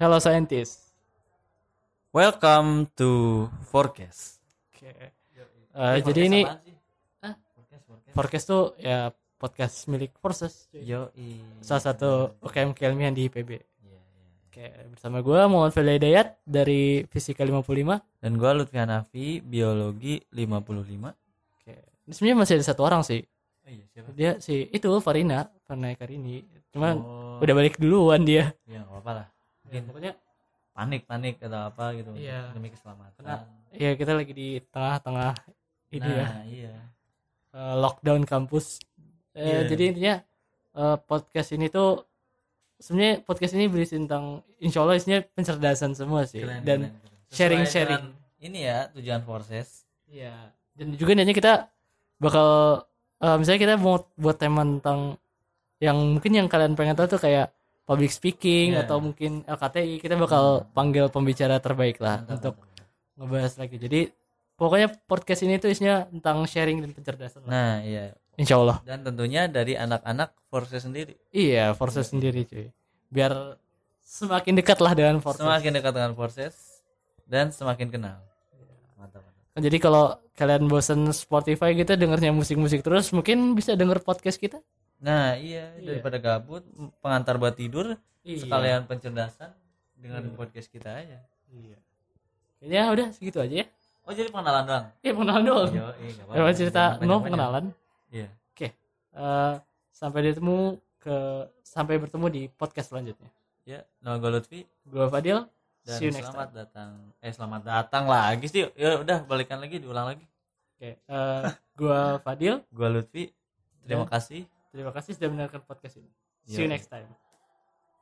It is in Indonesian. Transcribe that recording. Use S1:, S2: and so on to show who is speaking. S1: Hello scientist.
S2: Welcome to Forecast.
S1: Oke. Eh, jadi ini Hah? podcast tuh ya podcast milik Forces. Iya,
S2: Yo,
S1: Salah satu UKM keilmian di IPB.
S2: Iya,
S1: Oke, bersama gue Muhammad Feli Dayat dari Fisika 55.
S2: Dan gua Lutfi Hanafi, biologi 55.
S1: Oke. Ini sebenarnya masih ada satu orang sih.
S2: Oh iya, siapa?
S1: Dia si itu Farina, Farina Karini. Cuman
S2: Oh,
S1: udah balik duluan dia.
S2: ya enggak apa-apa lah.
S1: Ya, pokoknya
S2: Panik-panik Iya. atau apa gitu
S1: Iya.
S2: demi keselamatan.
S1: Kena- ya kita lagi di tengah-tengah ini ya.
S2: nah, iya.
S1: eh, lockdown kampus. Eh,
S2: Iya.
S1: Jadi intinya eh, podcast ini tuh sebenarnya podcast ini berisi tentang insya Allah isinya pencerdasan semua sih
S2: Keren,
S1: dan
S2: keren, keren. Sesuai
S1: sharing-sharing.
S2: dengan Ini ya tujuan Forces.
S1: iya dan juga nanti kita bakal eh, misalnya kita mau buat tema tentang yang mungkin yang kalian pengen tahu tuh kayak public speaking
S2: Iya.
S1: atau mungkin LKTI kita bakal panggil pembicara terbaik lah
S2: Iya.
S1: untuk ngebahas lagi. Jadi pokoknya podcast ini tuh isinya tentang sharing dan pencerdasan lah.
S2: Nah, iya.
S1: Insya Allah.
S2: Dan tentunya dari anak-anak Forces sendiri.
S1: Iya, forces sendiri cuy. Biar semakin dekat lah dengan forces.
S2: Semakin dekat dengan Forces dan semakin kenal. Mantap. mantap.
S1: Jadi kalau kalian bosen Spotify gitu dengernya musik-musik terus, mungkin bisa denger podcast kita.
S2: Nah, iya,
S1: Iya.
S2: daripada gabut, pengantar buat tidur,
S1: Iya.
S2: sekalian pencerdasan dengan podcast kita aja.
S1: Iya. Ya udah segitu aja ya.
S2: Oh, jadi pengenalan doang.
S1: Eh pengenalan doang.
S2: Yo, iya, nggak apa-apa.
S1: Memang cerita
S2: Jangan
S1: no
S2: panjang-panjang.
S1: pengenalan.
S2: Iya.
S1: Eh, sampai bertemu ke sampai bertemu di podcast selanjutnya.
S2: Ya, nama gue Lutfi
S1: Gue Fadil.
S2: dan
S1: See you next
S2: selamat
S1: time.
S2: datang. Eh, selamat datang lagi sih. Ya udah, balikan lagi, diulang lagi.
S1: Oke. eh, gue Fadil.
S2: Gue Lutfi. Terima
S1: Dan-
S2: kasih.
S1: Terima kasih sudah mendengarkan podcast ini. See you
S2: Yo.
S1: next time.